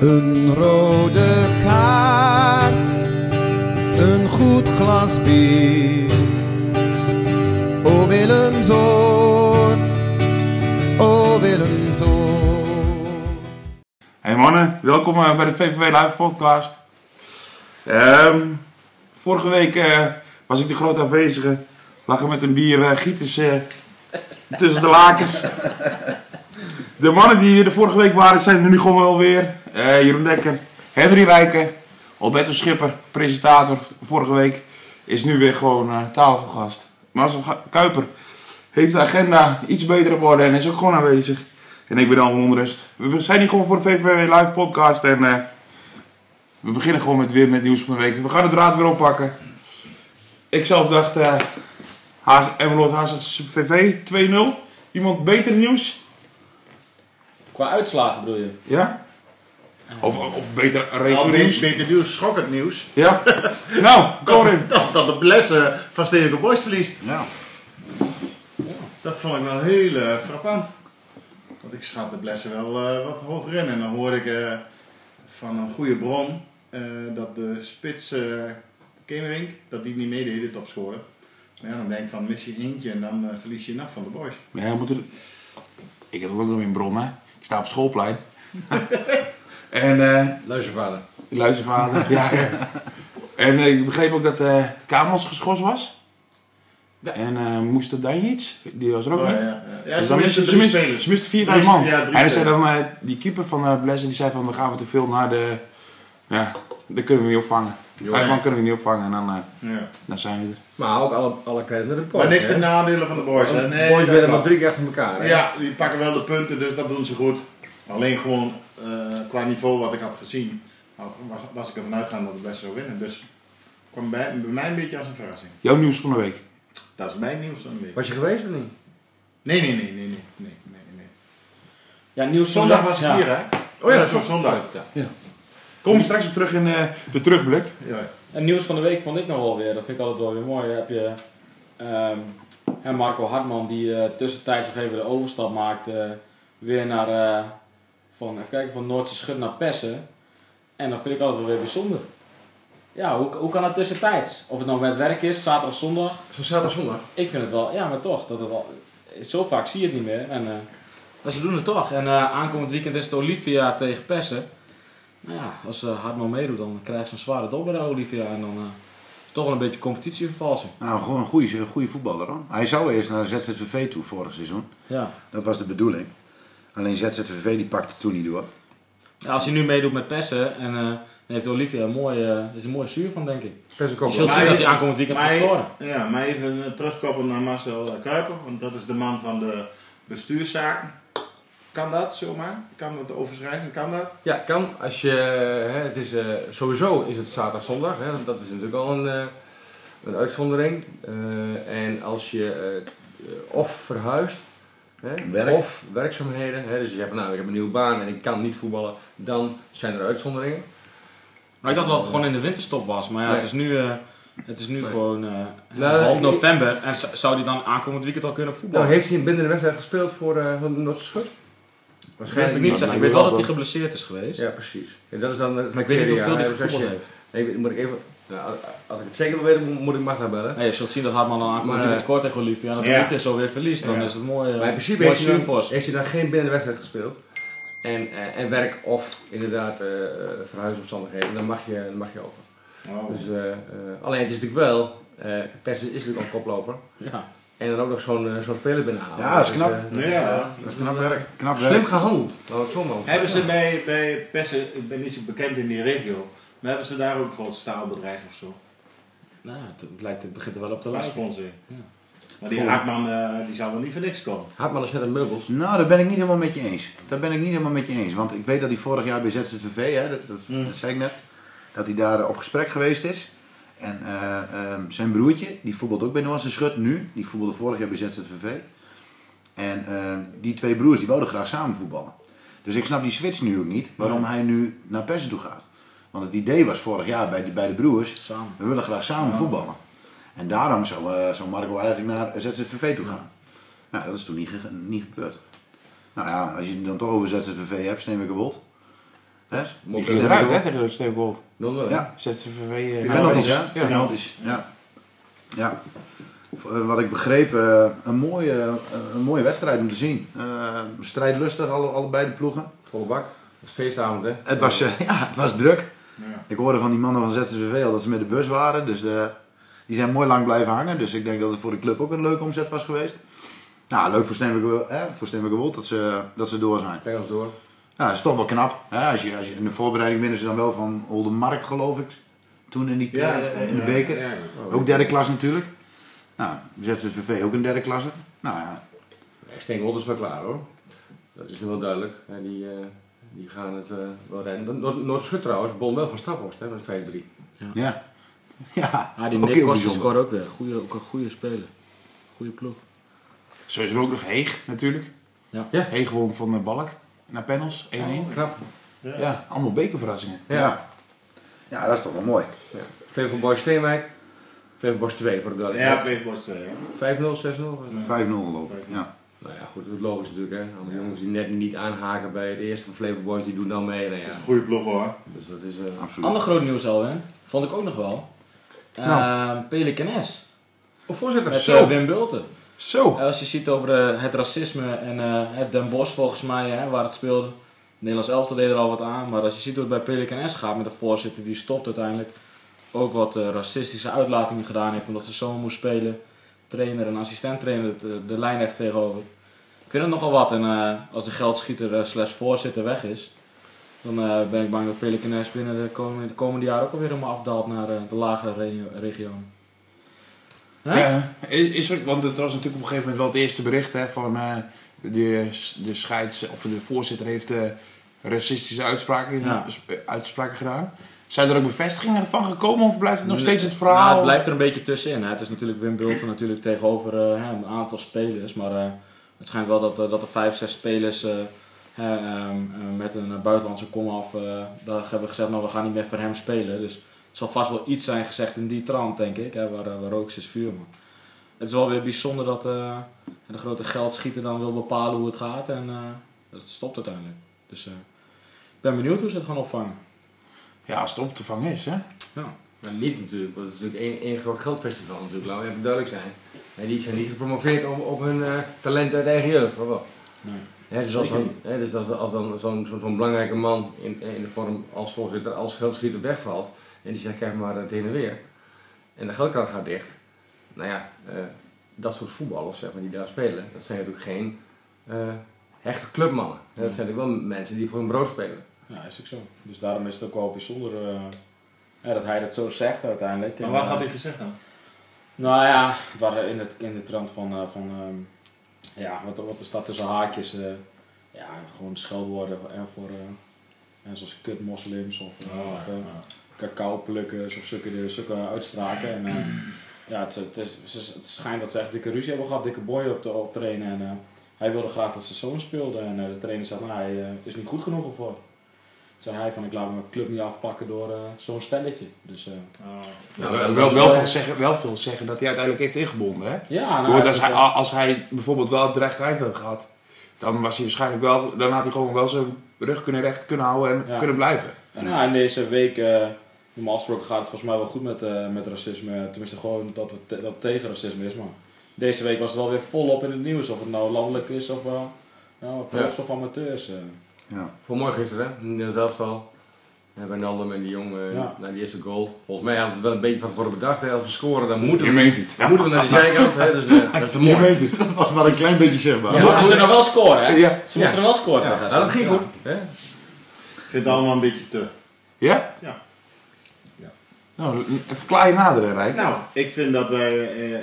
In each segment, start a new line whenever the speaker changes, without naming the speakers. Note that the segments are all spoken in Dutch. Een rode kaart, een goed glas bier. O Willem Zoon, o Willem Zoon.
Hey mannen, welkom eh, bij de VVV Live podcast. Ehm, vorige week eh, was ik de grote afwezige. Lag er met een bier eh, gieters eh, tussen de lakens. De mannen die er vorige week waren zijn er nu gewoon wel weer. Eh, Jeroen Dekker, Henry Rijken, Alberto Schipper, presentator vorige week, is nu weer gewoon eh, tafelgast. Marcel Ga- Kuiper heeft de agenda iets beter op orde en is ook gewoon aanwezig. En ik ben al onrust. We zijn hier gewoon voor de VVW Live podcast en eh, we beginnen gewoon met weer met nieuws van de week. We gaan de draad weer oppakken. Ik zelf dacht, eh HZ Emmeloord HZVV 2-0. Iemand beter nieuws?
Qua uitslagen bedoel je?
Ja? Of, of beter
Al
regelnieuws?
Nou, beter beter nieuws, schokkend nieuws.
Ja? nou, Corin.
Dat, dat de blessen van Stedelijke Boys verliest. Ja. Dat vond ik wel heel eh, frappant. Want ik schat de blessen wel eh, wat hoger in. En dan hoorde ik eh, van een goede bron eh, dat de spits eh Kemerink, dat die niet meedeed de topscorer. Maar ja, dan denk ik van mis je eentje en dan eh, verlies je nacht van de boys.
Ja, we moeten... Ik heb ook nog een bron, hè. Ik sta op schoolplein. en eh
Luistervader.
ik luister vader. ja, ja. En eh, ik begreep ook dat eh Kamels geschorst was.
Ja.
En eh moest er dan iets? Die was er ook
Oh, ja,
niet.
ja. ja.
Dus
ze
dan
misten
misten
drie
ze misten-
spelers.
ze misten vier,
Drie-
vijf man.
Ja,
en
drie
dan zei
spelers.
dan, eh, die keeper van eh Blessing, die zei van, dan gaan we te veel naar de... Ja, dat kunnen we niet opvangen. Vijf man kunnen we niet opvangen en dan, eh,
Ja.
dan zijn we er.
Maar ook alle, alle credits naar de poort.
Maar niks ten nadele van de boys. hè? Nee,
Boys
dat
winnen maar
klopt.
drie keer achter elkaar. hè?
Ja, die pakken wel de punten, dus dat doen ze goed. Alleen gewoon eh, qua niveau wat ik had gezien, had- was, was ik ervan uitgaan dat het best zou winnen. Dus kwam bij, bij mij een beetje als een verrassing.
Jouw nieuws van de week.
Dat is mijn nieuws dan weer.
Was je geweest of niet?
Nee, nee, nee, nee, nee, nee, nee, nee.
Ja, nieuws
Zondag was ik hier, hè?
Oh ja,
dat
klopt.
was zondag. Ja.
Kom we straks op terug in eh, de terugblik.
En nieuws van de week vond ik nog wel weer. Dat vind ik altijd wel weer mooi. Dan heb je ehm, hè, Marco Hartman die eh, tussentijds nog even de overstap maakt. eh, weer naar, eh, van, even kijken, van Noordse Schut naar Pessen. En dat vind ik altijd wel weer bijzonder. Ja, hoe, hoe kan dat tussentijds? Of het nou met werk is, zaterdag, zondag.
Zo zaterdag zondag.
Ik vind het wel, ja, maar toch. Dat het wel, zo vaak zie je het niet meer. En, eh, maar ze doen het toch. En eh, aankomend weekend is het Olivia tegen Pessen. Nou ja, als eh Hartman meedoet, dan krijgt ze een zware dobber bij Olivia. En dan eh, is het toch wel een beetje competitievervalsing.
Nou, gewoon een goede, een goede voetballer hoor. Hij zou eerst naar ZZVV toe vorig seizoen.
Ja.
Dat was de bedoeling. Alleen ZZVV die pakte toen niet door.
Ja, als hij nu meedoet met Pessen, en, eh, dan heeft Olivia een mooie, eh, is een mooie zuur van, denk ik.
Best een
Je zult
kopje.
zien dat hij aankomend weekend gaat
Maar-
scoren.
Ja, maar even eh, terugkoppelen naar Marcel eh, Kuiper, want dat is de man van de bestuurszaken. Kan dat zomaar? Kan dat overschrijven? Kan dat?
Ja, kan. Als je, hè, het is, eh, sowieso is het zaterdag zondag. Hè, dat is natuurlijk al een, eh, een uitzondering. Eh, en als je eh, eh, of verhuist, hè,
Werk.
of werkzaamheden. Hè, dus je zegt van nou, ik heb een nieuwe baan en ik kan niet voetballen. Dan zijn er uitzonderingen.
Maar ik dacht dat het gewoon in de winterstop was. Maar ja,
Nee.
het is nu, eh, het is nu
Nee.
gewoon eh,
Nou,
half
ik-
november. En z- zou hij dan aankomend weekend al kunnen voetballen?
Nou, heeft hij binnen de wedstrijd gespeeld voor eh Noordse Schut?
Dat weet ik niet
dat
zeggen.
lijkt
Ik weet
me
wel
wel
dat hij geblesseerd is geweest.
Ja, precies. En dat is dan het
Maar ik weet niet
criteria,
hoeveel hij
hè, dus als
gevoetbald
je-
heeft.
Nee, moet ik even... Nou, als ik het zeker wil weten, moet- moet ik Magda bellen.
Nee, je zult zien dat Hartman dan aankomt
Maar,
die met
eh,
kort tegen Olivia. En dat
ja.
Olivia zo weer verliest. Dan
Ja.
is het mooi, eh,
Maar in principe
mooi
heeft hij,
zuur
dan,
voor ze.
heeft hij dan geen binnenwedstrijd gespeeld. En, eh, en werk of inderdaad eh verhuisomstandigheden, dan mag je, dan mag je over.
Oh.
Dus, eh, eh, alleen het is natuurlijk wel, eh Persen is natuurlijk al koploper.
Ja.
En dan ook nog zo'n eh, zo'n speler binnenhalen.
Ja, dat is
Dus,
knap.
eh,
Ja.
Dat is knap werk. Knap
slim
werk.
gehandeld, laten we het zo maar
Hebben ze bij, bij Pessen, ik ben niet zo bekend in die regio, maar hebben ze daar ook een groot staalbedrijf of zo?
Nou, het, het lijkt, het begint er wel op te
Qua
lijken.
sponsoring. Maar die Haakman eh, die zou wel niet voor niks komen.
Hartman is net een meubels.
Nou, daar ben ik niet helemaal met je eens. Daar ben ik niet helemaal met je eens. Want ik weet dat hij vorig jaar bij ZZVV, hè, dat, dat, dat zei ik net, dat hij daar op gesprek geweest is. En eh, ehm, zijn broertje, die voetbalt ook bij Noorse Schut nu. Die voetbalde vorig jaar bij ZZVV. En ehm, die twee broers, die wilden graag samen voetballen. Dus ik snap die switch nu ook niet, waarom hij nu naar Persen toe gaat. Want het idee was vorig jaar bij de, bij de broers,
Samen.
we willen graag samen voetballen. En daarom zou, eh, zou Marco eigenlijk naar ZZVV toe gaan. Nou, dat is toen niet, gege- niet gebeurd. Nou ja, als je het dan toch over ZZVV hebt, neem ik een bot. Hè?
Die
Mocht
ging
stem ik
eruit hè,
ook.
tegen Steve Gold.
Nul
Ja.
ZCVV. eh,
Penalties, hè?
Ja.
Penalties, ja. Ja. Eh, Wat ik begreep, eh, een mooie, eh, een mooie wedstrijd om te zien. Eh, strijdlustig, alle, allebei de ploegen.
Volle bak. Het is feestavond, hè?
Het was, eh, ja, het was druk.
Ja.
Ik hoorde van die mannen van ZSV al dat ze met de bus waren. Dus eh, die zijn mooi lang blijven hangen. Dus ik denk dat het voor de club ook een leuke omzet was geweest. Nou, leuk voor Stemmeke eh, voor Stemmeke Wold dat ze, dat ze door zijn.
Kijk ons door.
Ja, dat is toch wel knap. Hè? Als je, als je, in de voorbereiding winnen ze dan wel van Oldenmarkt, geloof ik. Toen in, die,
Ja,
eh, in de
ja,
beker.
ja.
Ook derde klas natuurlijk. Nou, ZSVV ook een derde klasse. Nou ja,
Ik denk wel, dat is wel klaar hoor. Dat is nu wel duidelijk. hè, die, eh, die gaan het eh, wel rennen. Noord- Noordschut trouwens, bon wel van Staphorst hè, met 5-3.
ja. Ja,
Ah, die
ook
Nick
heel
Koster
bijzonder.
scoort ook weer. Goeie, ook een goede speler. Goede ploeg.
Zo is er ook nog Heeg natuurlijk.
Ja.
Ja.
Heeg won van de Balk. Naar panels, 1-1.
Knap.
ja. allemaal bekerverrassingen.
Ja.
Ja. ja, dat is toch wel mooi.
Ja. Flevo Boys Steenwijk. Flevo Boys 2 voor de
Ja,
duidelijkheid.
Vleesborst 2. hè.
5-0, 6-0. was het?
5-0 geloof ik. Ja.
Nou ja, goed, dat is logisch natuurlijk hè. Alle jongens die net niet aanhaken bij het eerste van Flevo Boys, die doen dan mee. Nou ja.
Goeie ploeg hoor.
Dus dat is... eh,
Oh,
Absoluut.
Ander groot nieuws al, hè? Vond ik ook nog wel. Ehm Pelican S.
Oh, voorzitter,
Met
zo.
eh, Wim Bulten.
Zo.
Eh, Als je ziet over eh, het racisme en eh, het Den Bosch volgens mij, hè, waar het speelde. Nederlands elftal deed er al wat aan. Maar als je ziet hoe het bij Pelican S gaat met de voorzitter, die stopt uiteindelijk. Ook wat eh, racistische uitlatingen gedaan heeft, omdat ze zo moest spelen. Trainer en assistent-trainer het, eh, de lijn echt tegenover. Ik vind het nogal wat. En eh, als de geldschieter eh, slash voorzitter weg is, dan eh, ben ik bang dat Pelican S binnen de komende, de komende jaren ook alweer helemaal afdaalt naar eh, de lagere regio. regio. Hè?
Ja, is, is er, want het was natuurlijk op een gegeven moment wel het eerste bericht hè, van eh, de, de scheids, of de voorzitter heeft eh, racistische uitspraken,
Ja.
eh, uitspraken gedaan. Zijn er ook bevestigingen van gekomen of blijft het nog
Nee,
steeds het
Nou,
verhaal?
het blijft er een beetje tussenin. Hè. Het is natuurlijk Wim Bulten natuurlijk tegenover eh, hè, een aantal spelers. Maar eh, het schijnt wel dat, eh, dat er vijf, zes spelers eh, hè, ehm, eh, met een eh, buitenlandse komaf eh daar hebben gezegd, nou we gaan niet meer voor hem spelen. Dus er zal vast wel iets zijn gezegd in die trant, denk ik. Hè, waar, eh, waar rook is, is vuur. Maar het is wel weer bijzonder dat eh, de grote geldschieter dan wil bepalen hoe het gaat. En eh, dat stopt uiteindelijk. Dus eh, ik ben benieuwd hoe ze het gaan opvangen.
Ja, als het op te vangen is. Hè?
Ja.
Nou, niet natuurlijk, want het is natuurlijk één, één groot geldfestival natuurlijk, laten we even duidelijk zijn. En die zijn niet gepromoveerd op, op hun eh, talent uit eigen jeugd, of wel?
Nee.
Hè, dus als
Zeker
dan, hè, dus als, als dan zo'n zo'n- zo'n belangrijke man in, in de vorm als voorzitter, als geldschieter wegvalt, en die zegt kijk maar het heen en weer, en de geldkraan gaat dicht, nou ja, eh, dat soort voetballers zeg maar, die daar spelen, dat zijn natuurlijk geen eh, hechte clubmannen. Hè, Dat zijn natuurlijk wel mensen die voor hun brood spelen.
Ja, is ook zo. Dus daarom is het ook wel bijzonder eh, ja, dat hij dat zo zegt uiteindelijk.
Maar
En,
wat
eh,
had hij gezegd dan?
Nou ja, het waren in, het, in de trant van, eh, van ehm, ja, wat, wat is dat tussen haakjes? eh, ja, gewoon scheldwoorden en voor eh, en zoals kutmoslims of, eh,
Oh,
of eh, cacaoplukkers of zulke, zulke uitstraken. En, eh, ja, het, het, is, het is- het schijnt dat ze echt dikke ruzie hebben gehad, dikke boy op te optrainen. En eh, hij wilde graag dat zijn zoon speelde. En eh, de trainer zei, nou, hij eh, is niet goed genoeg ervoor. Toen zei hij van, ik laat mijn club niet afpakken door eh, zo'n stelletje. Dus, eh,
Oh.
wel,
Nou,
wel, wel veel zeggen, wel veel zeggen dat hij uiteindelijk heeft ingebonden. Hè?
ja,
Je
nou,
hoort, als,
het-
hij, als hij bijvoorbeeld wel het recht eind had gehad, dan, was hij waarschijnlijk wel, dan had hij gewoon wel zijn rug kunnen recht kunnen houden en
Ja.
kunnen blijven.
En nou, in deze week, eh, normaal gesproken gaat het volgens mij wel goed met, eh, met racisme. Tenminste, gewoon dat het, te- dat het tegen racisme is. Maar deze week was het wel weer volop in het nieuws. Of het nou landelijk is of eh nou, profs of amateurs. eh.
Ja.
Voor mooi gisteren, hè? Nederlands elftal. En bij Naldum en die jongen eh,
Ja.
naar die eerste goal. Volgens mij hadden we het wel een beetje van tevoren bedacht. Hè? Als we scoren, dan moeten we,
meent het.
dan moeten we naar die zijkant. Hè? Dus, eh, dat is te mooi.
Dat was maar een klein beetje zichtbaar.
Ja.
Moesten ze nog wel scoren, hè?
Ja.
Ze moesten er wel scoren.
Ja,
tegen
nou, dat
ze.
ging goed. Hè?
Ik vind het allemaal een beetje te.
Ja?
Ja. Ja.
Nou, verklaar je nader, hè, Rijk.
Nou, ik vind dat wij. eh, eh,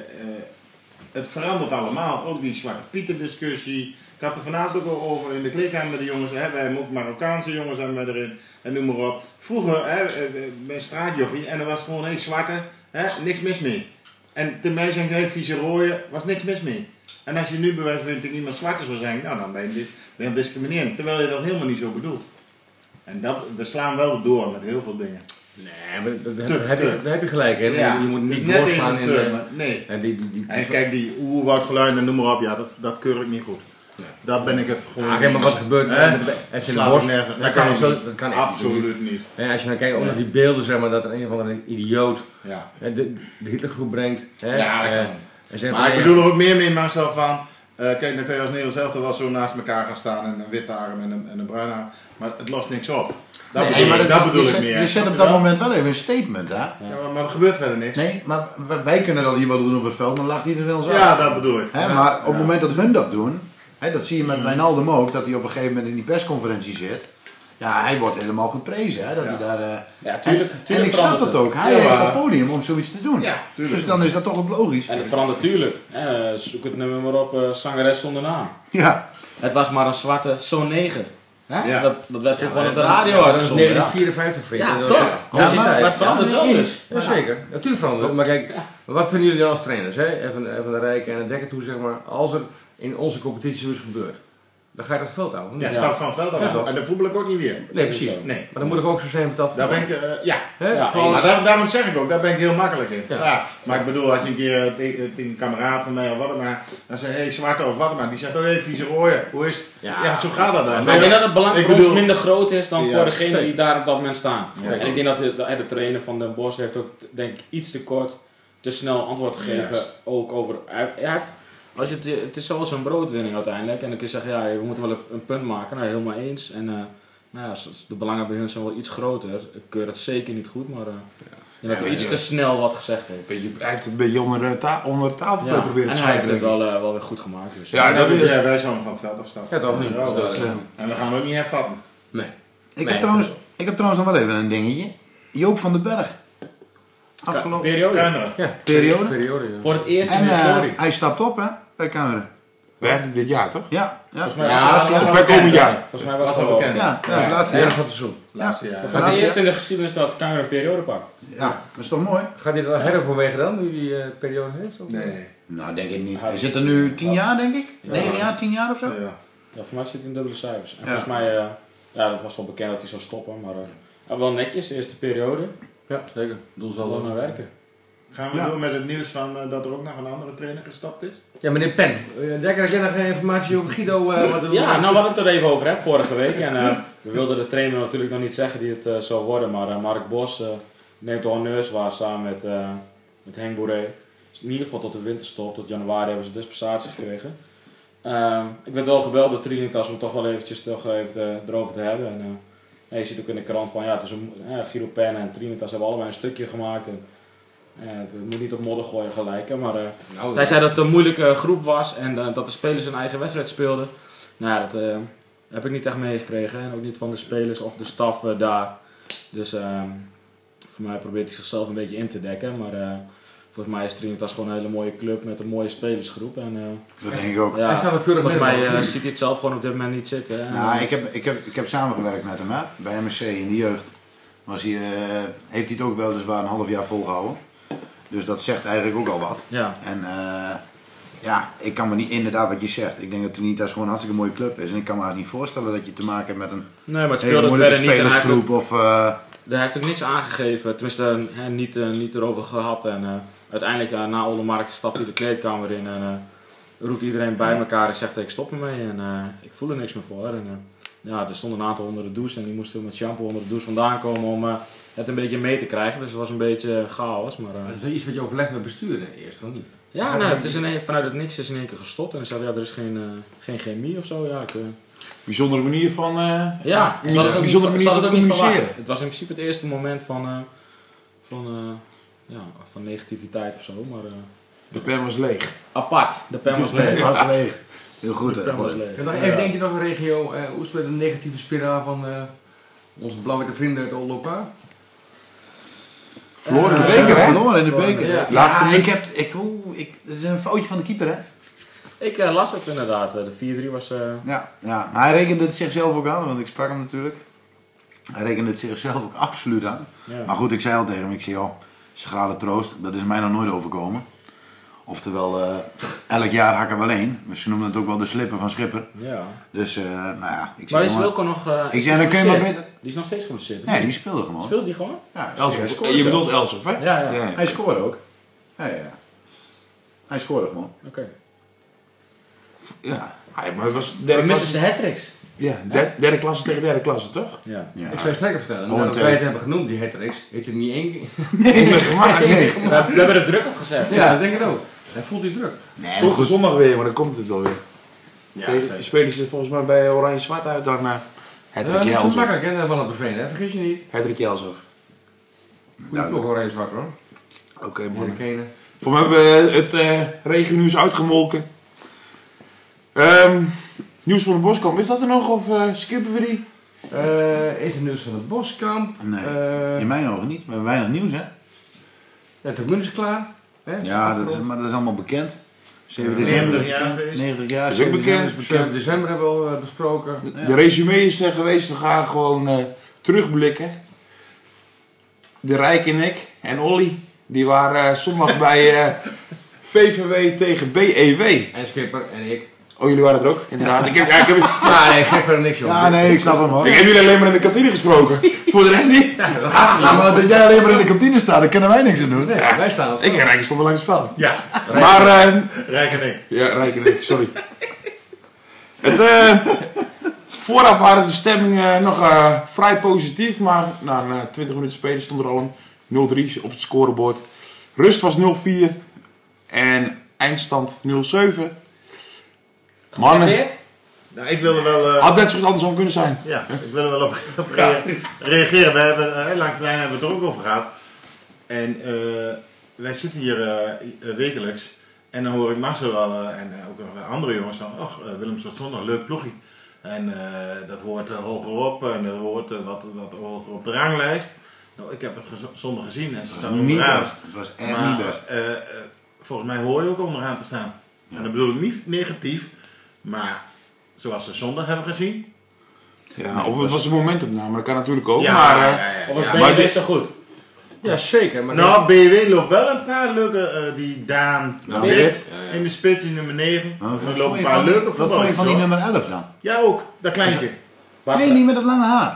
het verandert allemaal. Ook die Zwarte Pieten discussie. Ik had er vanavond ook al over in de kleedkamer met de jongens. Hebben wij hem ook Marokkaanse jongens hebben wij erin. En noem maar op. Vroeger, hè, eh, eh, mijn straatjochie, en er was gewoon één zwarte. Hè, niks mis mee. En de mij zijn geen vieze rooien, was niks mis mee. En als je nu bij wijze van spreken iemand zwarte zou zijn, nou, dan ben je, dis- ben je discriminerend. Terwijl je dat helemaal niet zo bedoelt. En dat, we slaan wel door met heel veel dingen.
Nee, maar dat- dat-
Te-
daar heb,
te.
je- daar heb je gelijk. Hè? Je moet
het is
niet
net
doorslaan
één
in
kleur,
de...
maar nee.
hè, die, die, die,
En kijk, die oerwoudgeluiden, noem maar op, ja, dat, dat keur ik niet goed. Daar ben ik het gewoon.
Ah, kijk maar wat
niet.
gebeurt
Hè?
er met de- FC Den
Slaat
Bosch.
het nergens-
Dat
Dat
kan
kan
niet zo-
niet.
dat kan echt
Absoluut niet.
En als je dan kijkt ook naar die beelden, zeg maar, dat er een of andere idioot
Ja.
hè, de, de Hitlergroep brengt. Hè,
Ja, dat
eh,
kan.
en zegt
Maar
van,
ik
ja,
bedoel er ook meer mee mezelf van. eh, kijk, dan kun je als Nederlands zelf wel zo naast elkaar gaan staan en een wit arm en een, en een bruin arm. Maar het lost niks op. Dat
Nee,
bedoel, ik-
maar
dat
dat is-
bedoel
je
ik
zet-
meer.
Je zet op dat moment wel even een statement, hè?
Ja, maar, maar er gebeurt verder niks.
Nee, maar w- wij kunnen dat hier wel doen op het veld, dan lacht iedereen ons uit.
Ja, dat bedoel ik.
Hè, maar op het moment dat hun dat doen, hè, dat zie je met Wijnaldum ook, dat hij op een gegeven moment in die persconferentie zit. Ja, hij wordt helemaal geprezen. Hè, dat
Ja.
hij daar, eh,
Ja, tuurlijk-
en- en
tuurlijk
ik snap
verandert
dat ook. Hij
Ja,
heeft
maar-
een podium om zoiets te doen.
Ja,
tuurlijk.
dus dan is dat toch ook logisch.
En het verandert natuurlijk. hè. zoek het nummer maar op, eh zangeres zonder naam.
Ja,
Het was maar een zwarte, zo'n neger. Hè?
Ja.
Dat, dat werd toen gewoon op de
ja,
radio
dat is
uitgezonden. Ja,
1954 vriend.
Ja,
Dat-
toch?
dat is
maar-
hij.
maar het verandert
Ja,
wel
nee,
dus.
Ja, zeker. Natuurlijk veranderen. Maar kijk, wat vinden jullie dan als trainers? Hè? En Van, en van de Rijken en de Dekker toe, zeg maar. Als er in onze competitie zoiets gebeurt, dan ga je dat veld aan.
Ja, stap van het veld af. En dan voetbal ik ook niet weer.
Nee, precies.
Nee.
Maar dan moet ik ook zo zijn betaald voor.
Daar ben ik, eh, ja.
Hè?
Ja,
Vooral-
Maar daar- daarom zeg ik ook, daar ben ik heel makkelijk in.
Ja.
Ja. maar ik bedoel, als je een keer eh, tegen tegen een kameraad van mij of wat dan maar, dan zeg je, hey, zwarte of wat dan maar, die zegt, oh hé, vieze rooien, hoe is het?
Ja.
Ja, zo gaat dat dan.
Maar ik denk dat het belang
Ik
voor ons
bedoel-
minder groot is dan
Ja,
voor degene
zeker.
die daar op dat moment staan.
Ja.
En ik denk dat de, de, de trainer van Den Bosch heeft ook, denk ik, iets te kort, te snel antwoord gegeven.
Juist.
Ook over... Hij, hij heeft, als je het, het is zoals een broodwinning uiteindelijk. En dan kun je zeggen, ja, we moeten wel een- een punt maken. Nou, helemaal eens. En eh, nou ja, s- s- de belangen bij hun zijn wel iets groter. Ik keur dat zeker niet goed, maar... eh je hebt
Ja,
iets
ja.
te snel wat gezegd heeft.
Beetje- hij heeft het een beetje onder de, ta- onder de tafel
Ja,
proberen te
en hij heeft
schrijven.
het
denk ik.
wel, eh, wel weer goed gemaakt. Dus.
Ja, dat is
ja, wij zouden van het veld afstappen.
Ja, toch niet.
Ja,
Dus, eh,
En we gaan ook niet hervatten.
Nee.
ik,
Nee,
heb trouwens, ik heb trouwens nog wel even een dingetje. Joop van den Berg. Afgelopen
Periode.
Kuineren.
Ja.
periode.
Periode, ja.
Voor het eerst in
En
de
eh,
historie.
hij stapt op, hè, bij Camera.
Werd dit jaar toch?
Ja, ja.
Volgens mij,
Ja,
was,
dat was
Bij
al
komend
bekend.
jaar.
volgens mij was het
Dat was
al
al
bekend.
bekend.
Ja, ja, het laatste
Ja,
jaar.
van het seizoen.
Laatste jaar.
Voor het
Laatste-
eerst in de geschiedenis dat Kamer een periode pakt.
Ja, dat is toch mooi?
Gaat dit wel heroverwegen dan, nu die eh, periode heeft? Of?
Nee.
Nou, denk ik niet. Hij zit er nu tien jaar, denk ik. Negen jaar, tien jaar of zo.
Ja.
Ja, voor mij zit het in dubbele cijfers. En volgens mij, eh, ja, dat was wel bekend dat hij zou stoppen, maar eh, ja, wel netjes, de eerste periode.
Ja, zeker. Doel zal
Gewoon
wel.
naar werken.
Gaan we
Ja.
door met het nieuws van eh, dat er ook nog een andere trainer gestapt is?
Ja, meneer Pen. eh, Dekker, ik heb nog geen informatie over Guido. eh, wat er-
Ja, nou we hadden het er even over hè, vorige week. En eh, we wilden de trainer natuurlijk nog niet zeggen die het eh, zou worden, maar eh, Mark Bos eh, neemt de honneurs waar samen met, eh, met Henk Boeré. Dus in ieder geval tot de winterstop, tot januari hebben ze dispensatie gekregen. Ehm, ik werd wel gebeld door Trinitas om toch wel eventjes toch even eh, erover te hebben. En, eh, ja, je ziet ook in de krant van ja, het is een, eh, Guido Pen en Trinitas hebben allebei een stukje gemaakt. En, eh, het moet niet op modder gooien gelijk, hè, maar eh,
Nou,
hij zei dat het een moeilijke groep was en eh, dat de spelers hun eigen wedstrijd speelden. Nou, ja, dat eh, heb ik niet echt meegekregen. En ook niet van de spelers of de staf eh, daar. Dus ehm, voor mij probeert hij zichzelf een beetje in te dekken. Maar eh, volgens mij is Trinitas gewoon een hele mooie club met een mooie spelersgroep. En, eh,
Dat denk ik ook.
ja,
Oh, Hij staat er keurig
volgens mij
midden.
eh, ziet hij het zelf gewoon op dit moment niet zitten. En,
Nou,
eh,
ik heb, ik, heb, ik heb samengewerkt met hem hè? bij MSC in de jeugd. Was hij, eh, heeft hij het ook weliswaar een half jaar volgehouden. Dus dat zegt eigenlijk ook al wat.
ja.
En eh, ja, ik kan me niet inderdaad wat je zegt. Ik denk dat Trinitas gewoon een hartstikke mooie club is. En ik kan me haast niet voorstellen dat je te maken hebt met een
Nee, maar het speelde
hele
ook
moeilijke
verder niet. En hij heeft ook
spelersgroep. Of, eh,
Daar heeft ook niks aangegeven, tenminste eh, hè, niet, eh, niet erover gehad. En eh, uiteindelijk eh, na Oldenmarkt stapt hij de kleedkamer in en eh, roept iedereen bij elkaar en zegt ik stop ermee en eh, ik voel er niks meer voor. En, eh, ja, er stonden een aantal onder de douche en die moesten met shampoo onder de douche vandaan komen om eh, het een beetje mee te krijgen. Dus het was een beetje chaos. Maar, eh,
Dat is wel iets wat je overlegt met besturen eerst, of niet?
ja, nou, het is in één- vanuit het niks is in één keer gestopt en ze zeiden ja, er is geen, eh, geen chemie of zo. Ja, ik, eh,
Bijzondere manier van... eh,
ja,
een
ze hadden het ook niet,
bijzondere
ze
manier
hadden
van
het ook niet
communiceren.
verwacht. Het was in principe het eerste moment van, eh, van, eh, ja, van negativiteit of zo, maar eh,
De pen was leeg.
apart. De pen was
het
leeg.
was leeg. Heel goed
De
hè.
pen was
Mooi.
leeg.
En nog even, denk je nog een regio, eh, hoe speelt de negatieve spiraal van eh, onze blauwe vrienden uit Oldopa?
Verloren in de
We hebben
beker, hè?
verloren in de beker.
Ja.
Ja,
Laatste
ik heb, ik, oeh, ik, het is een foutje van de keeper hè.
Ik eh, las het inderdaad, eh, de 4-3 was... eh,
Ja, ja. Maar hij rekende het zichzelf ook aan, want ik sprak hem natuurlijk. Hij rekende het zichzelf ook absoluut aan.
Ja.
Maar goed, ik zei al tegen hem, ik zei al, schrale troost, dat is mij nog nooit overkomen. Oftewel, eh, elk jaar hakken we alleen. Ze noemden het ook wel de slippen van Schipper.
ja.
Dus, eh, nou ja,
Maar
ik zei...
is
jongen,
Wilco nog... eh,
Ik
is
zei, dan kun je maar
geblesseerd?
beter...
Die is nog steeds geblesseerd.
Nee, die speelde gewoon.
Speelt die gewoon?
Ja, hij
Elsof.
scoorde.
Je bedoelt Elsof, hè?
Ja, ja.
ja.
Hij scoorde ook. Ja, ja, ja. Hij scoorde gewoon.
Oké.
Ja,
Ah, ja, maar het was
We
derde
missen
klasse,
ze hat-tricks.
ja, der- derde klasse tegen derde klasse, toch?
Ja.
Ja.
Ik zou je sterker vertellen,
Oh,
nadat
een
wij het
tele-
hebben genoemd, die hattricks, heeft het niet één keer.
Nee, gemaakt.
Nee.
We, we hebben er druk op gezet.
Ja, dat denk ik ook. Hij voelt die druk.
Nee, maar
Zondag,
goed.
zondag weer, maar dan komt het wel weer.
Ja,
Deze spelen ze volgens mij bij Oranje Zwart uit dan eh
Het
Hendrik
is zo
Jelzof.
makkelijk, hè, van het beveen, hè? Vergis je niet.
Hendrik Jelzof.
Goeie
Nou,
ploeg, oranje zwart hoor.
Oké, man.
Hurricanen.
Voor mij hebben we het eh regennieuws uitgemolken. Ehm, nieuws van de Boskamp, is dat er nog of eh, skippen we die?
Eh, is er nieuws van het Boskamp?
Nee.
Eh,
In mijn ogen niet, maar weinig nieuws hè.
ja, Tribune is klaar. Hè?
Ja, dat is, maar dat is allemaal bekend. 7 december,
90 jaar feest.
90 jaar,
Is ook
7 december is
bekend.
7
bekend.
december hebben we al eh, besproken.
De, de resume is eh, geweest, we gaan gewoon eh, terugblikken. De Rijk en ik en Olly, die waren eh, zondag bij eh, VVW tegen BEW.
En Skipper en ik.
Oh, jullie waren er ook? Inderdaad, ik heb, ja, ik heb,
Nou, nee, geef verder niks, joh.
Ja, nee, ik snap hem hoor.
ik heb jullie alleen maar in de kantine gesproken. Voor de rest niet.
Ja, maar dat jij alleen maar in de kantine staat, daar kunnen wij niks aan doen.
Nee, wij staan op.
Ik en Rijk stonden langs het veld.
Ja,
Maar, eh,
Rijk en ik.
ja, Rijk en ik, sorry. Het, eh, vooraf waren de stemmingen nog eh, vrij positief, maar na eh, 20 minuten spelen stond er al een 0-3 op het scorebord. Rust was 0-4 en eindstand 0-7. Mannen,
Dit? Nou, ik wilde wel... eh,
had net zo goed andersom kunnen zijn.
Ja, ik wil er wel op, op rea- reageren. We hebben, eh, langs de lijn hebben we het er ook over gehad. En eh, wij zitten hier eh, eh, wekelijks. En dan hoor ik Marcel wel eh, en eh, ook nog wel andere jongens van... Och, eh, Willem staat zondag, leuk ploegje. En eh, dat hoort hoger hogerop en dat hoort eh, wat, wat hoger op de ranglijst. Nou, ik heb het gez- zondag gezien en ze staan
Niet
onderaan.
best. Het was echt
Maar
niet best.
eh, eh, volgens mij hoor je ook onderaan te staan. En dat bedoel ik niet negatief, maar zoals ze zondag hebben gezien...
Ja, of het was een momentopname, dat kan natuurlijk ook.
Ja,
maar, eh,
ja, ja,
Of
ja.
was
Maar
BNB
dit-
zo goed?
Ja, zeker. Maar
Nou, BW loopt wel een paar leuke, eh, die Daan
Nou,
Wit
Wit.
in de spits, die nummer 9.
Maar
er
wat
lopen
vond
een
je
paar
van die-
leuke
Wat vond je
voetballers.
van die
hoor.
nummer 11 dan?
Ja, ook, dat kleintje.
Waar-
Nee, niet met dat lange haar.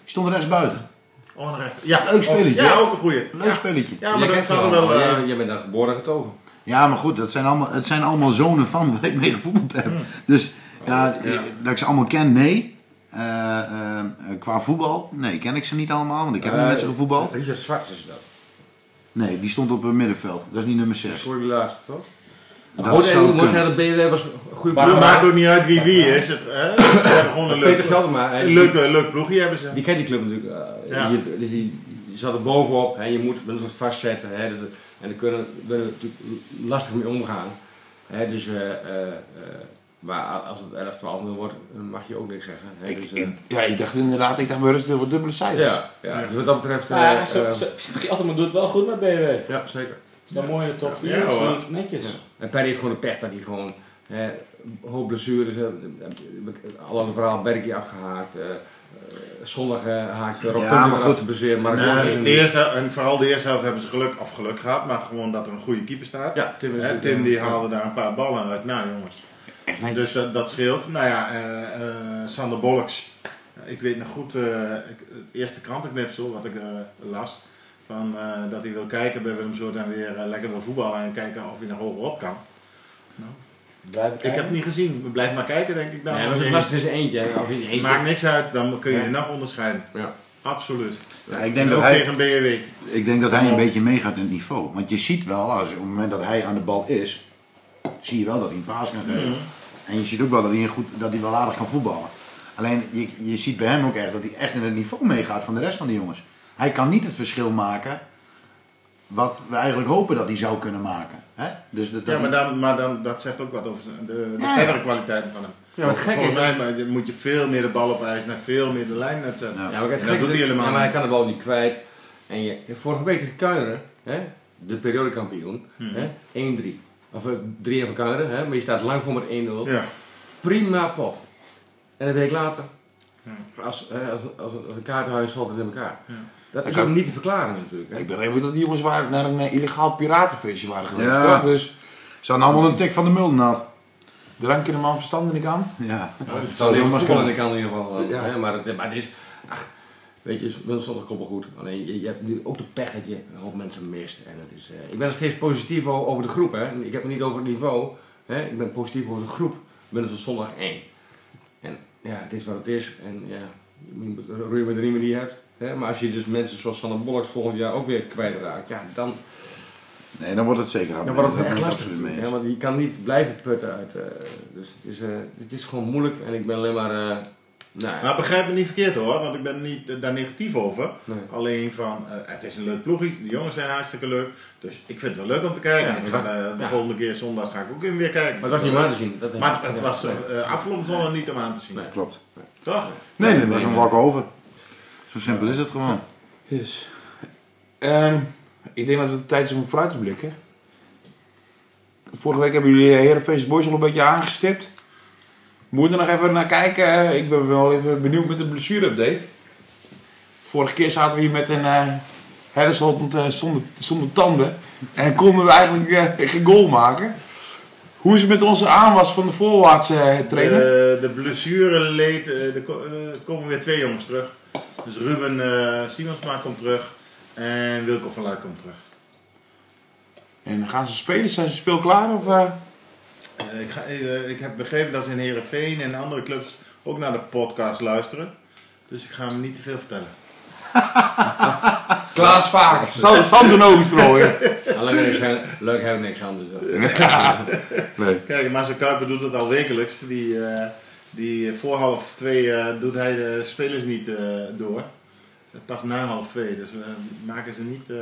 Die stond rechts buiten.
Onrecht. Oh, Ja,
Leuk spelletje.
Ja, ook een goeie.
Leuk
ja.
spelletje.
Ja, maar dat zouden wel... eh,
Je bent daar geboren getogen.
Ja, maar goed, dat zijn allemaal, het zijn allemaal zonen van waar ik mee gevoetbald heb. Dus ja, eh, dat ik ze allemaal ken, nee. Eh, eh, eh, qua voetbal, nee, ken ik ze niet allemaal, want ik
Eh,
heb niet met ze gevoetbald.
Richard Zwart is dat.
Nee, die stond op het middenveld. Dat is niet nummer 6.
Voor die laatste, toch?
Dat
Goed,
zou
en moet
kunnen.
zeggen, de BW was een goede
Maar-
het
ploeg.
maakt ook niet uit wie wie is. Het, eh, ze hebben gewoon een leuk,
Peter Veldema, hè,
een
die-
leuk, eh, leuk ploegje hebben ze.
Die kent die club natuurlijk. eh,
Ja.
hier, dus die, die zat er bovenop en je moet met het vastzetten. Hè, dus, dat- en daar kunnen we natuurlijk lastig mee omgaan. Hè, dus, eh, eh, eh, maar a- als het 11, 12 0 wordt, dan mag je ook niks zeggen. Hè,
ik,
dus, eh,
ik- ja, ik dacht inderdaad, ik dacht bij rust voor dubbele cijfers.
ja, ja, dus wat dat betreft. eh,
Ah,
Ja, zo,
eh,
zo, Gieltman doet het wel goed met BW.
ja, zeker.
Is dat mooi in de top 4?
Ja, hoor.
netjes.
En Perry heeft gewoon de pech dat hij gewoon hè, een hoop blessures heeft. Al aan het verhaal Berkje afgehaakt. eh, eh, zondag eh, haakte Rob
Ja,
Punten
maar
weer af
goed.
te bezweer. Maar
Nee, Eh, de eerste, en vooral de eerste helft hebben ze geluk of geluk gehad, maar gewoon dat er een goede keeper staat.
Ja, Tim is
Hè,
goed,
Tim
ja.
die haalde daar een paar ballen uit. Nou jongens,
Echt netjes.
Dus dat, dat scheelt. Nou ja, eh, eh, Sander Bolleks. Ik weet nog goed, eh, ik, het eerste krantenknipsel wat ik eh, las. Van, eh, dat hij wil kijken bij Willem Soort en weer eh, lekker wil voetballen en kijken of hij nog hogerop kan.
Blijf
Ik heb het niet gezien. Blijf maar kijken, denk ik dan.
Nee, maar het lastig is eentje. hè, Of niet eentje.
Maakt niks uit, dan kun je je nog onderscheiden.
Ja.
Absoluut.
Ja, ik,
En
denk
ook
dat hij,
tegen BEW.
ik denk dat hij een beetje meegaat in het niveau. Want je ziet wel, als, op het moment dat hij aan de bal is, zie je wel dat hij een paas kan
Mhm.
geven. En je ziet ook wel dat hij, een goed, dat hij wel aardig kan voetballen. Alleen je, je ziet bij hem ook echt dat hij echt in het niveau meegaat van de rest van de jongens. Hij kan niet het verschil maken wat we eigenlijk hopen dat hij zou kunnen maken. Hè? Dus dat, dat
Ja, maar,
hij-
dan, maar dan, dat zegt ook wat over zijn- de, de
Ja.
verdere kwaliteiten van hem.
Ja, wat gek
Volgens
is-
mij maar, je- moet je veel meer de bal op ijs en veel meer de lijn net zetten.
Ja.
Ja, maar
En
kijk, het
dat
gekke
doet
is-
hij helemaal
ja, maar hij
niet.
kan de bal niet kwijt. En je, kijk, vorige week tegen Kuineren, hè, de periodekampioen,
Hmm.
hè, 1-3. Of eh, 3 van Kuineren, hè, maar je staat lang voor met 1-0.
Ja.
Prima pot. En een week later, als, hè, als, als, als een kaartenhuis valt het in elkaar. Dat is
kan-
ook niet te verklaren natuurlijk. hè.
Ik begreep ook dat die jongens waren naar een eh, illegaal piratenfeestje waren geweest.
Ja.
toch? Dus
ze hadden allemaal een tik van de mulden had.
drank in de man verstandelijk aan.
Ja.
Het zal heel
maar
voetbal in
kunnen.
de kan in ieder geval. wel,
Ja.
hè, maar, het, maar het is, ach, weet je, wel zondag komt wel goed. Alleen je, je hebt nu ook de pech dat je een hoop mensen mist. En het is, eh, ik ben nog steeds positief o- over de groep. Hè. Ik heb het niet over het niveau. Hè. Ik ben positief over de groep. winnen van zondag 1. En ja, het is wat het is. En ja, je moet roeien met de riemen die je hebt. Hè? Maar als je dus mensen zoals Sander Bollocks volgend jaar ook weer kwijtraakt, ja, dan,
Nee, dan wordt het zeker aan.
dan wordt het echt lastig. Ja, want je kan niet blijven putten uit. eh, dus het is, eh, het is gewoon moeilijk en ik ben alleen maar. eh, nou, ja,
Maar begrijp me niet verkeerd hoor, want ik ben niet, eh, daar negatief over.
Nee.
Alleen van, eh, het is een leuk ploegje, de jongens zijn hartstikke leuk. Dus ik vind het wel leuk om te kijken.
Ja,
ik ga, eh, de
ja.
volgende keer zondag ga ik ook in weer kijken.
maar het was niet om aan te zien. Dat
Maar het, het was
ja.
eh, afgelopen zondag niet om aan te zien.
Klopt.
Toch?
Nee, dat was een walk-over. Zo simpel is het gewoon.
Yes. Dus, Ehm, ik denk dat het tijd is om vooruit te blikken. Vorige week hebben jullie Herenfeest Boys al een beetje aangestipt. We moeten nog even naar kijken. Ik ben wel even benieuwd met de blessure-update. Vorige keer zaten we hier met een eh hersenslot eh, zonder, zonder tanden. En konden we eigenlijk eh, geen goal maken. Hoe is het met onze aanwas van de voorwaartse eh, trainer?
Eh, De, de blessure leed, eh, er ko- eh, er komen weer twee jongens terug. Dus Ruben eh, Simonsma komt terug en Wilco van Luik komt terug.
En gaan ze spelen? Zijn ze speelklaar? Of, eh?
Eh, ik, ga, eh, ik heb begrepen dat ze in Herenveen en andere clubs ook naar de podcast luisteren. Dus ik ga hem niet te veel vertellen.
Klaas Vaak. Sam, Sam de Nogenstrooien.
Ah.
Alleen leuk zijn- leuk hebben we niks aan. Dus, dat-
Kijk, Marcel Kuiper doet dat al wekelijks. Die, eh, die voor half twee eh, doet hij de spelers niet eh, door. Eh, Pas na half twee, dus we maken ze niet... eh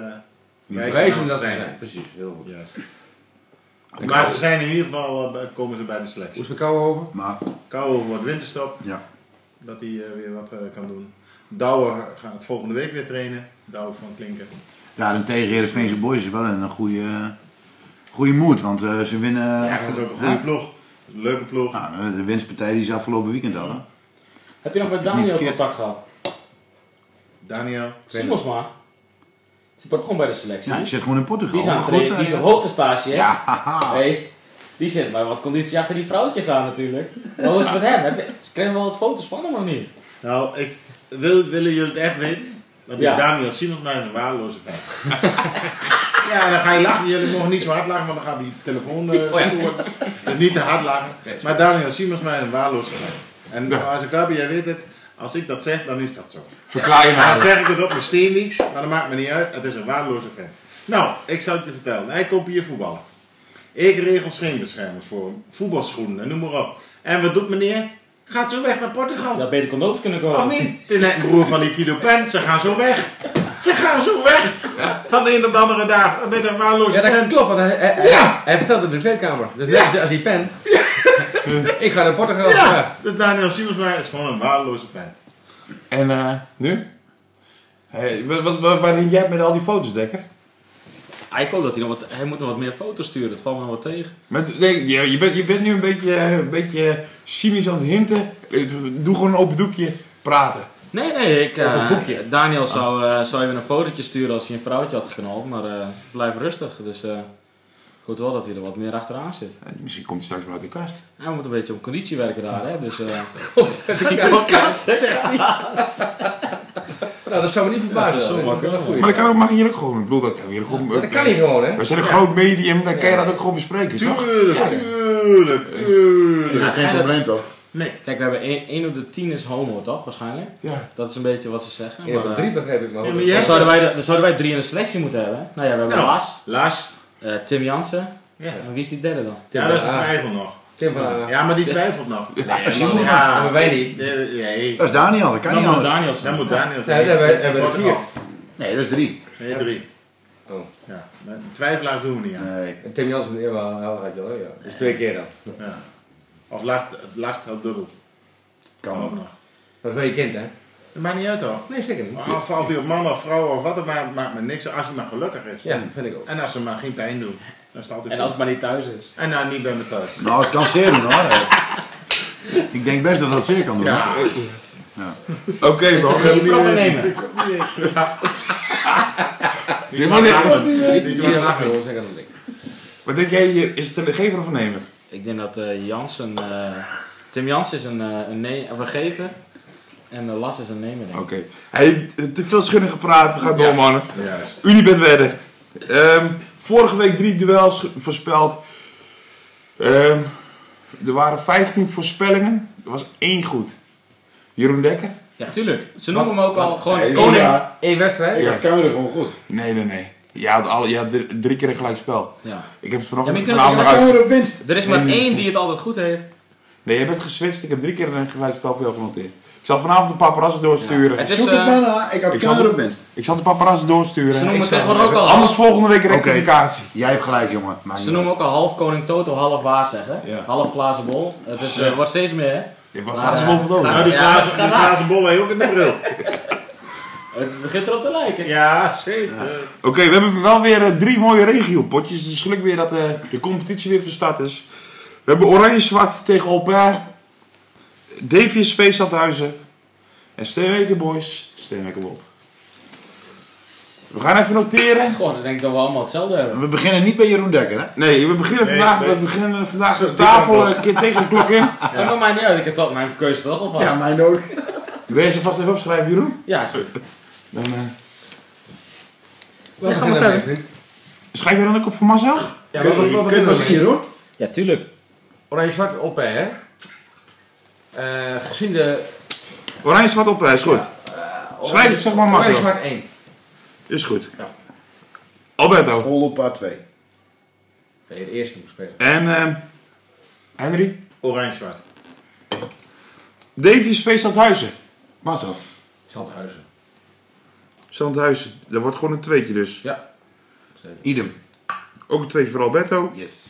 wijs
Wijs om
aan
dat te zijn. Precies, heel goed.
Juist. Maar ze zijn in ieder geval, eh, bij- komen ze bij de
Hoe
selectie.
is het kou over?
Maar
Kouwen wordt winterstop,
ja,
dat hij eh, weer wat eh, kan doen. Douwe gaat volgende week weer trainen. Douwe van Klinken.
daarentegen Heerenveense Boys is wel in een goede, goede moed. Want eh, ze winnen...
Ja, dat is ook een goede ploeg. Leuke ploeg.
Nou, de winstpartij die ze afgelopen weekend hadden.
Heb je nog met
Is niet
Daniel
verkeerd.
contact gehad?
Daniel.
Simons maar. Zit ook gewoon bij de selectie.
Ja, ik zit gewoon in Portugal.
die is aan
Maar
het
Nou, goed,
trainen, die
eh,
is op hoogtestage, hè?
Ja, haha.
Hey, die zit maar wat conditie achter die vrouwtjes aan natuurlijk. Maar Hoe is het met hem? Heb je- Krijgen we wel wat foto's van hem of niet?
Nou, ik, wil, willen jullie het echt weten? Want die
Ja.
Daniel Simons mij is een waardeloze vent. ja, dan ga je lachen. Jullie mogen niet zo hard lachen, want dan gaat die telefoon eh
Oh ja.
goed worden. Dus niet te hard lachen. Maar Daniel Simons mij is een waardeloze vent. En als ik heb, jij weet het. Als ik dat zeg, dan is dat zo.
Verklaar je
Dan
nou.
zeg ik het op mijn steenwieks, maar dat maakt me niet uit. Het is een waardeloze vent. Nou, ik zal het je vertellen. Hij komt hier voetballen. Ik regel scheenbeschermers voor hem. Voetbalschoenen en noem maar op. En wat doet meneer? Gaat zo weg naar Portugal.
Dat beter condooms kunnen komen.
Oh,
Of niet? Het is net een broer van die Guido Pen. Ze gaan zo weg. Ze gaan zo weg. Van de een op de andere dag. Dan ben je een waardeloze
Ja, dat
vent.
klopt, want hij, hij,
Ja.
hij vertelt het in de kleedkamer. Dus net als- als die pen. ik ga naar Portugal.
Ja, dus Daniel Simonsma is gewoon een waardeloze vent.
En eh, nu? Hey, wat, wat, wat, waar denk jij met al die foto's, Dekker?
Ah, ik hoop dat hij nog wat... Hij moet nog wat meer foto's sturen. Dat valt me nog wat tegen.
Met, nee, je, je, bent, je bent nu een beetje, eh, een beetje cynisch aan het hinten. Eh, Doe gewoon een open doekje praten.
Nee, nee. Ik, eh, Daniel zou, eh, zou even een fotootje sturen als hij een vrouwtje had geknald. Maar eh, blijf rustig. Dus eh, ik hoop wel dat hij er wat meer achteraan zit.
Eh, Misschien komt hij straks wel uit de kast.
Hij moet een beetje op conditie werken daar, hè. Dus eh,
Nou, dat zou me niet verbazen.
Ja, Dus, eh, dat is zo makkelijk.
wel een goeie.
Maar dat kan ook, mag je hier ook gewoon. Ik bedoel, dat kan hier ook gewoon. eh,
Maar dat kan niet gewoon, hè?
We zijn een groot medium, dan kan je dat ook gewoon bespreken, toch?
Tuurlijk, tuurlijk, tuurlijk.
Dat is geen probleem toch?
Nee.
Kijk, we hebben 1 op de 10 is homo, toch? Waarschijnlijk.
Ja.
Dat is een beetje wat ze zeggen.
Ja,
Maar,
maar
eh,
drie begrijp ik maar.
Ja, maar jij-
dan, zouden wij, de- dan zouden wij drie in de selectie moeten hebben. hè? Nou ja, we hebben
Nou,
Lars,
Lars.
eh, Tim Jansen.
Ja.
En wie is die derde dan?
Tim
Ja,
van
dat is de
Aar.
twijfel nog.
Tim van Aar.
Ja, maar die twijfelt nog.
Ja,
Ja.
maar wij niet.
Nee, nee.
Dat is Daniel, dat kan
Dan
niet
moet
anders.
Daniel zijn.
Dan moet Daniel
Ja, daar hebben we- hebben we er vier.
Nee, dat is drie.
Nee, drie.
Oh.
Ja, maar twijfelaars doen we niet aan.
Nee.
En Tim Jansen, ja, wel, wel gaat je wel, ja. Dus twee keer dan.
Ja. Of last, last helpt dubbel.
Kan
Ook
ook.
nog.
Dat is wel je kind, hè?
Dat maakt niet uit toch?
Nee, zeker niet.
Of Ah, valt hij op man of vrouw of wat, dan maakt maakt me niks uit als hij maar gelukkig is.
Ja, vind ik ook.
En als ze maar geen pijn doen, dan staat hij
En als het maar niet thuis is.
En dan niet bij me thuis.
Nou, het kan zeer doen hoor. Ik denk best dat dat zeer kan doen.
Ja,
Oké,
Toch
bro.
geen proppen nemen.
die
maar dit-
niet.
Hier lachen, jongens, ik kan dat niet.
Wat denk jij hier? Is het een gever of een nemer?
Ik denk dat eh, Jansen... eh, Tim Jansen is een, eh, een, nee, of een gever. En eh, Lars is een nemer, denk
Oké.
ik.
Hey, te veel schunnen gepraat, we gaan door, mannen.
Juist.
Unibet wedden. Ehm, vorige week drie duels ge- voorspeld. Ehm, Er waren 15 voorspellingen. Er was één goed. Jeroen Dekker?
Ja, tuurlijk. Ze noemen hem ook al gewoon
Nee,
koning. Ja.
Ja,
Eén wedstrijd?
ik had Kuijer gewoon goed.
Nee, nee, nee. Je had, alle, je had dr- drie keer een gelijkspel.
Ja.
Ik heb het
Ja,
vanochtend
maar je kunt
vanavond
het
nog uit-
Kuijer op winst.
Er is maar één die het altijd goed heeft.
Nee, je bent geswitst. Ik heb drie keer een gelijkspel voor jou genoteerd. Ik zal vanavond een paparazzen doorsturen.
Het is,
Zoek het
eh,
maar na, ik had
ik zal-
Kuijer op winst.
Ik zal de paparazzen
ze
doorsturen.
noemen het tegenwoordig ook al half,
Anders volgende week rectificatie.
Jij hebt gelijk, jongen. Maar
ze noemen ook al half koning Toto, half waar zeggen.
Ja.
Half glazen bol. Het is, eh, wordt steeds meer. hè.
Je was
Maar,
laatst
eh,
wel verdoven.
Nou, die
Ja,
glazen,
dat gaat
die
na.
glazen bol heeft ook in de bril.
Het begint erop te lijken.
Ja, zeker.
Oké, we hebben wel weer eh, drie mooie regiopotjes. Dus gelukkig weer dat eh, de competitie weer van start is. We hebben Oranje-Zwart tegen Alba. DVSV Stadhuizen. En Steenweken Boys, Steenweken Bold. We gaan even noteren.
Gewoon, ik denk dat we allemaal hetzelfde hebben.
We beginnen niet bij Jeroen Dekker, hè?
Nee, we beginnen
Nee,
vandaag,
nee.
We beginnen vandaag
Zo,
de tafel een keer tegen de klok in.
Dat maakt mij niet uit, ik heb dat, mijn keuze toch al van.
Ja, mijn ook.
Wil je ze vast even opschrijven, Jeroen?
Ja, is goed.
Dan, eh,
Ja,
gaan we verder.
schrijf je dan ook op voor Mazag?
Ja,
Kun
maar
je-
wat
kun je wel
was
zien,
hier?
hoor.
Ja, tuurlijk.
Oranje-zwart op, hè? Eh, gezien de...
Oranje-Zwart op, eh, is goed. Schrijf het, zeg maar Mazag.
Oranje-zwart 1.
Is goed.
Ja.
Alberto.
Hol op paar 2.
Nee, de eerste moet spelen.
En ehm, Henry?
Oranje-zwart.
Davies V. Stadhuizen. Mazzel.
Zandhuizen.
Stadhuizen. Dat wordt gewoon een tweetje dus.
Ja.
Idem.
Ook een tweetje voor Alberto.
Yes.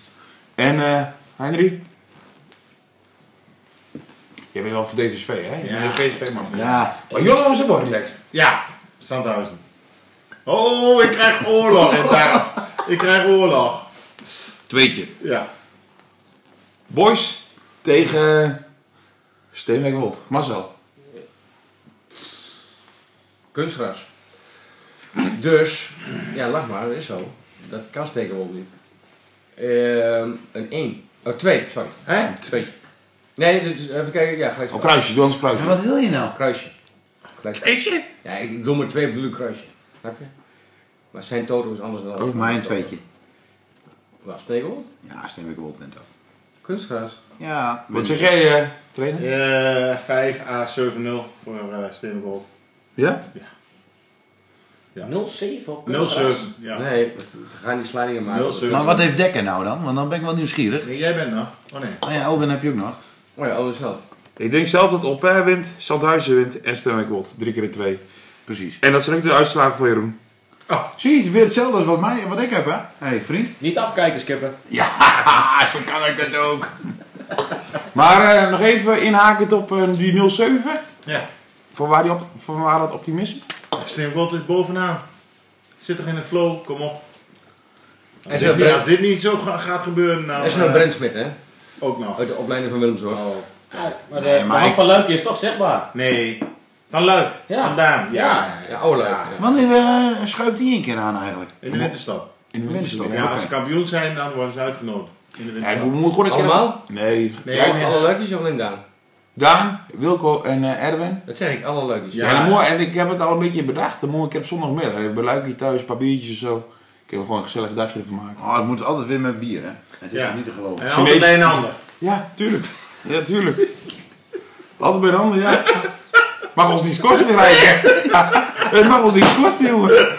En eh, Henry? Jij bent wel voor Davies V, hè? Je
Ja.
bent een PSV man.
Ja.
Maar Jorro is ook wel relaxed.
Ja, Sandhausen. Oh, ik krijg oorlog. in Tarm. ik krijg oorlog.
Tweetje.
Ja.
Boys tegen Steenwijk Wold. Marcel.
Kunstgras. Dus, ja, lach maar, dat is zo. Dat kan steken wel niet. Ehm, een 1. Oh, 2, sorry.
Hè?
2. Nee, dus even kijken. Ja, gelijk.
Oh, kruisje. Doe ons kruisje.
En wat wil je nou?
Kruisje. Gelijk.
Kruisje?
Ja, ik ik doe maar twee bedoel ik kruisje. Snap je? Maar zijn toto is anders dan...
Ook maar een tweetje.
Wat, stekelwold?
Ja, Steenwijk Wold wint dat.
Kunstgras.
Ja.
Wat zeg jij, eh trainer?
Eh 5A70 voor eh Steengold.
Ja?
0-7 op
07. Ja.
Nee, we gaan die slidingen maken.
07.
Maar wat heeft Dekker nou dan? Want dan ben ik wel nieuwsgierig.
Nee, jij bent nog. Oh nee.
Oh ja, Elwin heb je ook nog.
Oh ja, alles zelf.
Ik denk zelf dat Alper wint, Stadhuizen wint en Steenwijk Wold. Drie keer in twee.
Precies.
En dat zijn ook de uitslagen voor Jeroen.
Zie je, weer hetzelfde als wat, mij, wat ik heb, hè? Hé, hey, vriend.
Niet afkijken, Skipper.
Ja, zo kan ik het ook.
Maar eh, nog even inhakend op eh, die 07.
Ja.
Van waar, die op, van waar dat optimisme?
Steengold is bovenaan. Zit toch in de flow? Kom op.
En
Als
ze
dit, niet, als
hebben
dit niet zo ga- gaat gebeuren, nou,
en ze hebben
eh,
Brent Smit, hè?
ook nog.
Uit de opleiding van Willem Zorg.
Oh.
Ja, maar de,
Nee,
de
maar
hand
ik-
van Luikje is toch zichtbaar.
Nee. Van Luik.
Ja.
Vandaan. Ja.
Ja, ja, oude leuk. Ja.
Wanneer eh, schuift die één keer aan eigenlijk?
In de winterstop.
In de
winterstop,
Ja, als ze
Oké.
kampioen zijn, dan worden ze uitgenodigd. In de
Ja, we
winterstop.
moeten gewoon een keer...
Allemaal?
Nee.
Nee, nee.
Alle leukjes of alleen Daan?
Daan, Wilco en eh, Erwin.
Dat zeg ik, alle leukjes.
Ja.
Ja.
dan moet- en ik heb het al een beetje bedacht. Dan moet ik heb zondagmiddag even bij Luikie thuis, een paar biertjes en zo. Ik heb er gewoon een gezellig dagje van maken.
Oh, het moet altijd weer met bier, hè? Het is
Ja.
niet te geloven.
En altijd bij een ander.
Ja, tuurlijk. Ja, tuurlijk. Altijd bij de handen, ja. Mag ons niets kosten, Rijken. Het mag ons niets kosten, jongen. We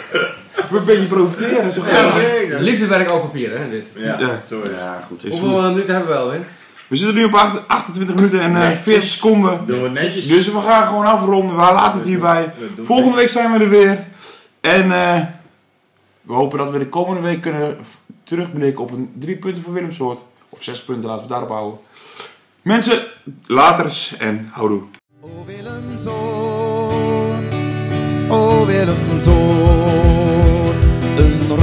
een beetje profiteren. Zo graag.
Liefdewerk op papier, hè? Dit.
Ja, zo is het.
Ja, goed.
Is goed.
Hoeveel eh, minuten hebben we wel, hè?
We zitten nu op acht- 28 minuten en eh, 40 seconden.
Doen we het netjes.
Dus we gaan gewoon afronden. We laten het hierbij. Volgende week zijn we er weer. En eh, we hopen dat we de komende week kunnen v- terugblikken op een drie punten voor Willemsoort. Of zes punten, laten we daarop houden. Mensen, laters en houdoe.
O Willemzoon, o Willemzoon, een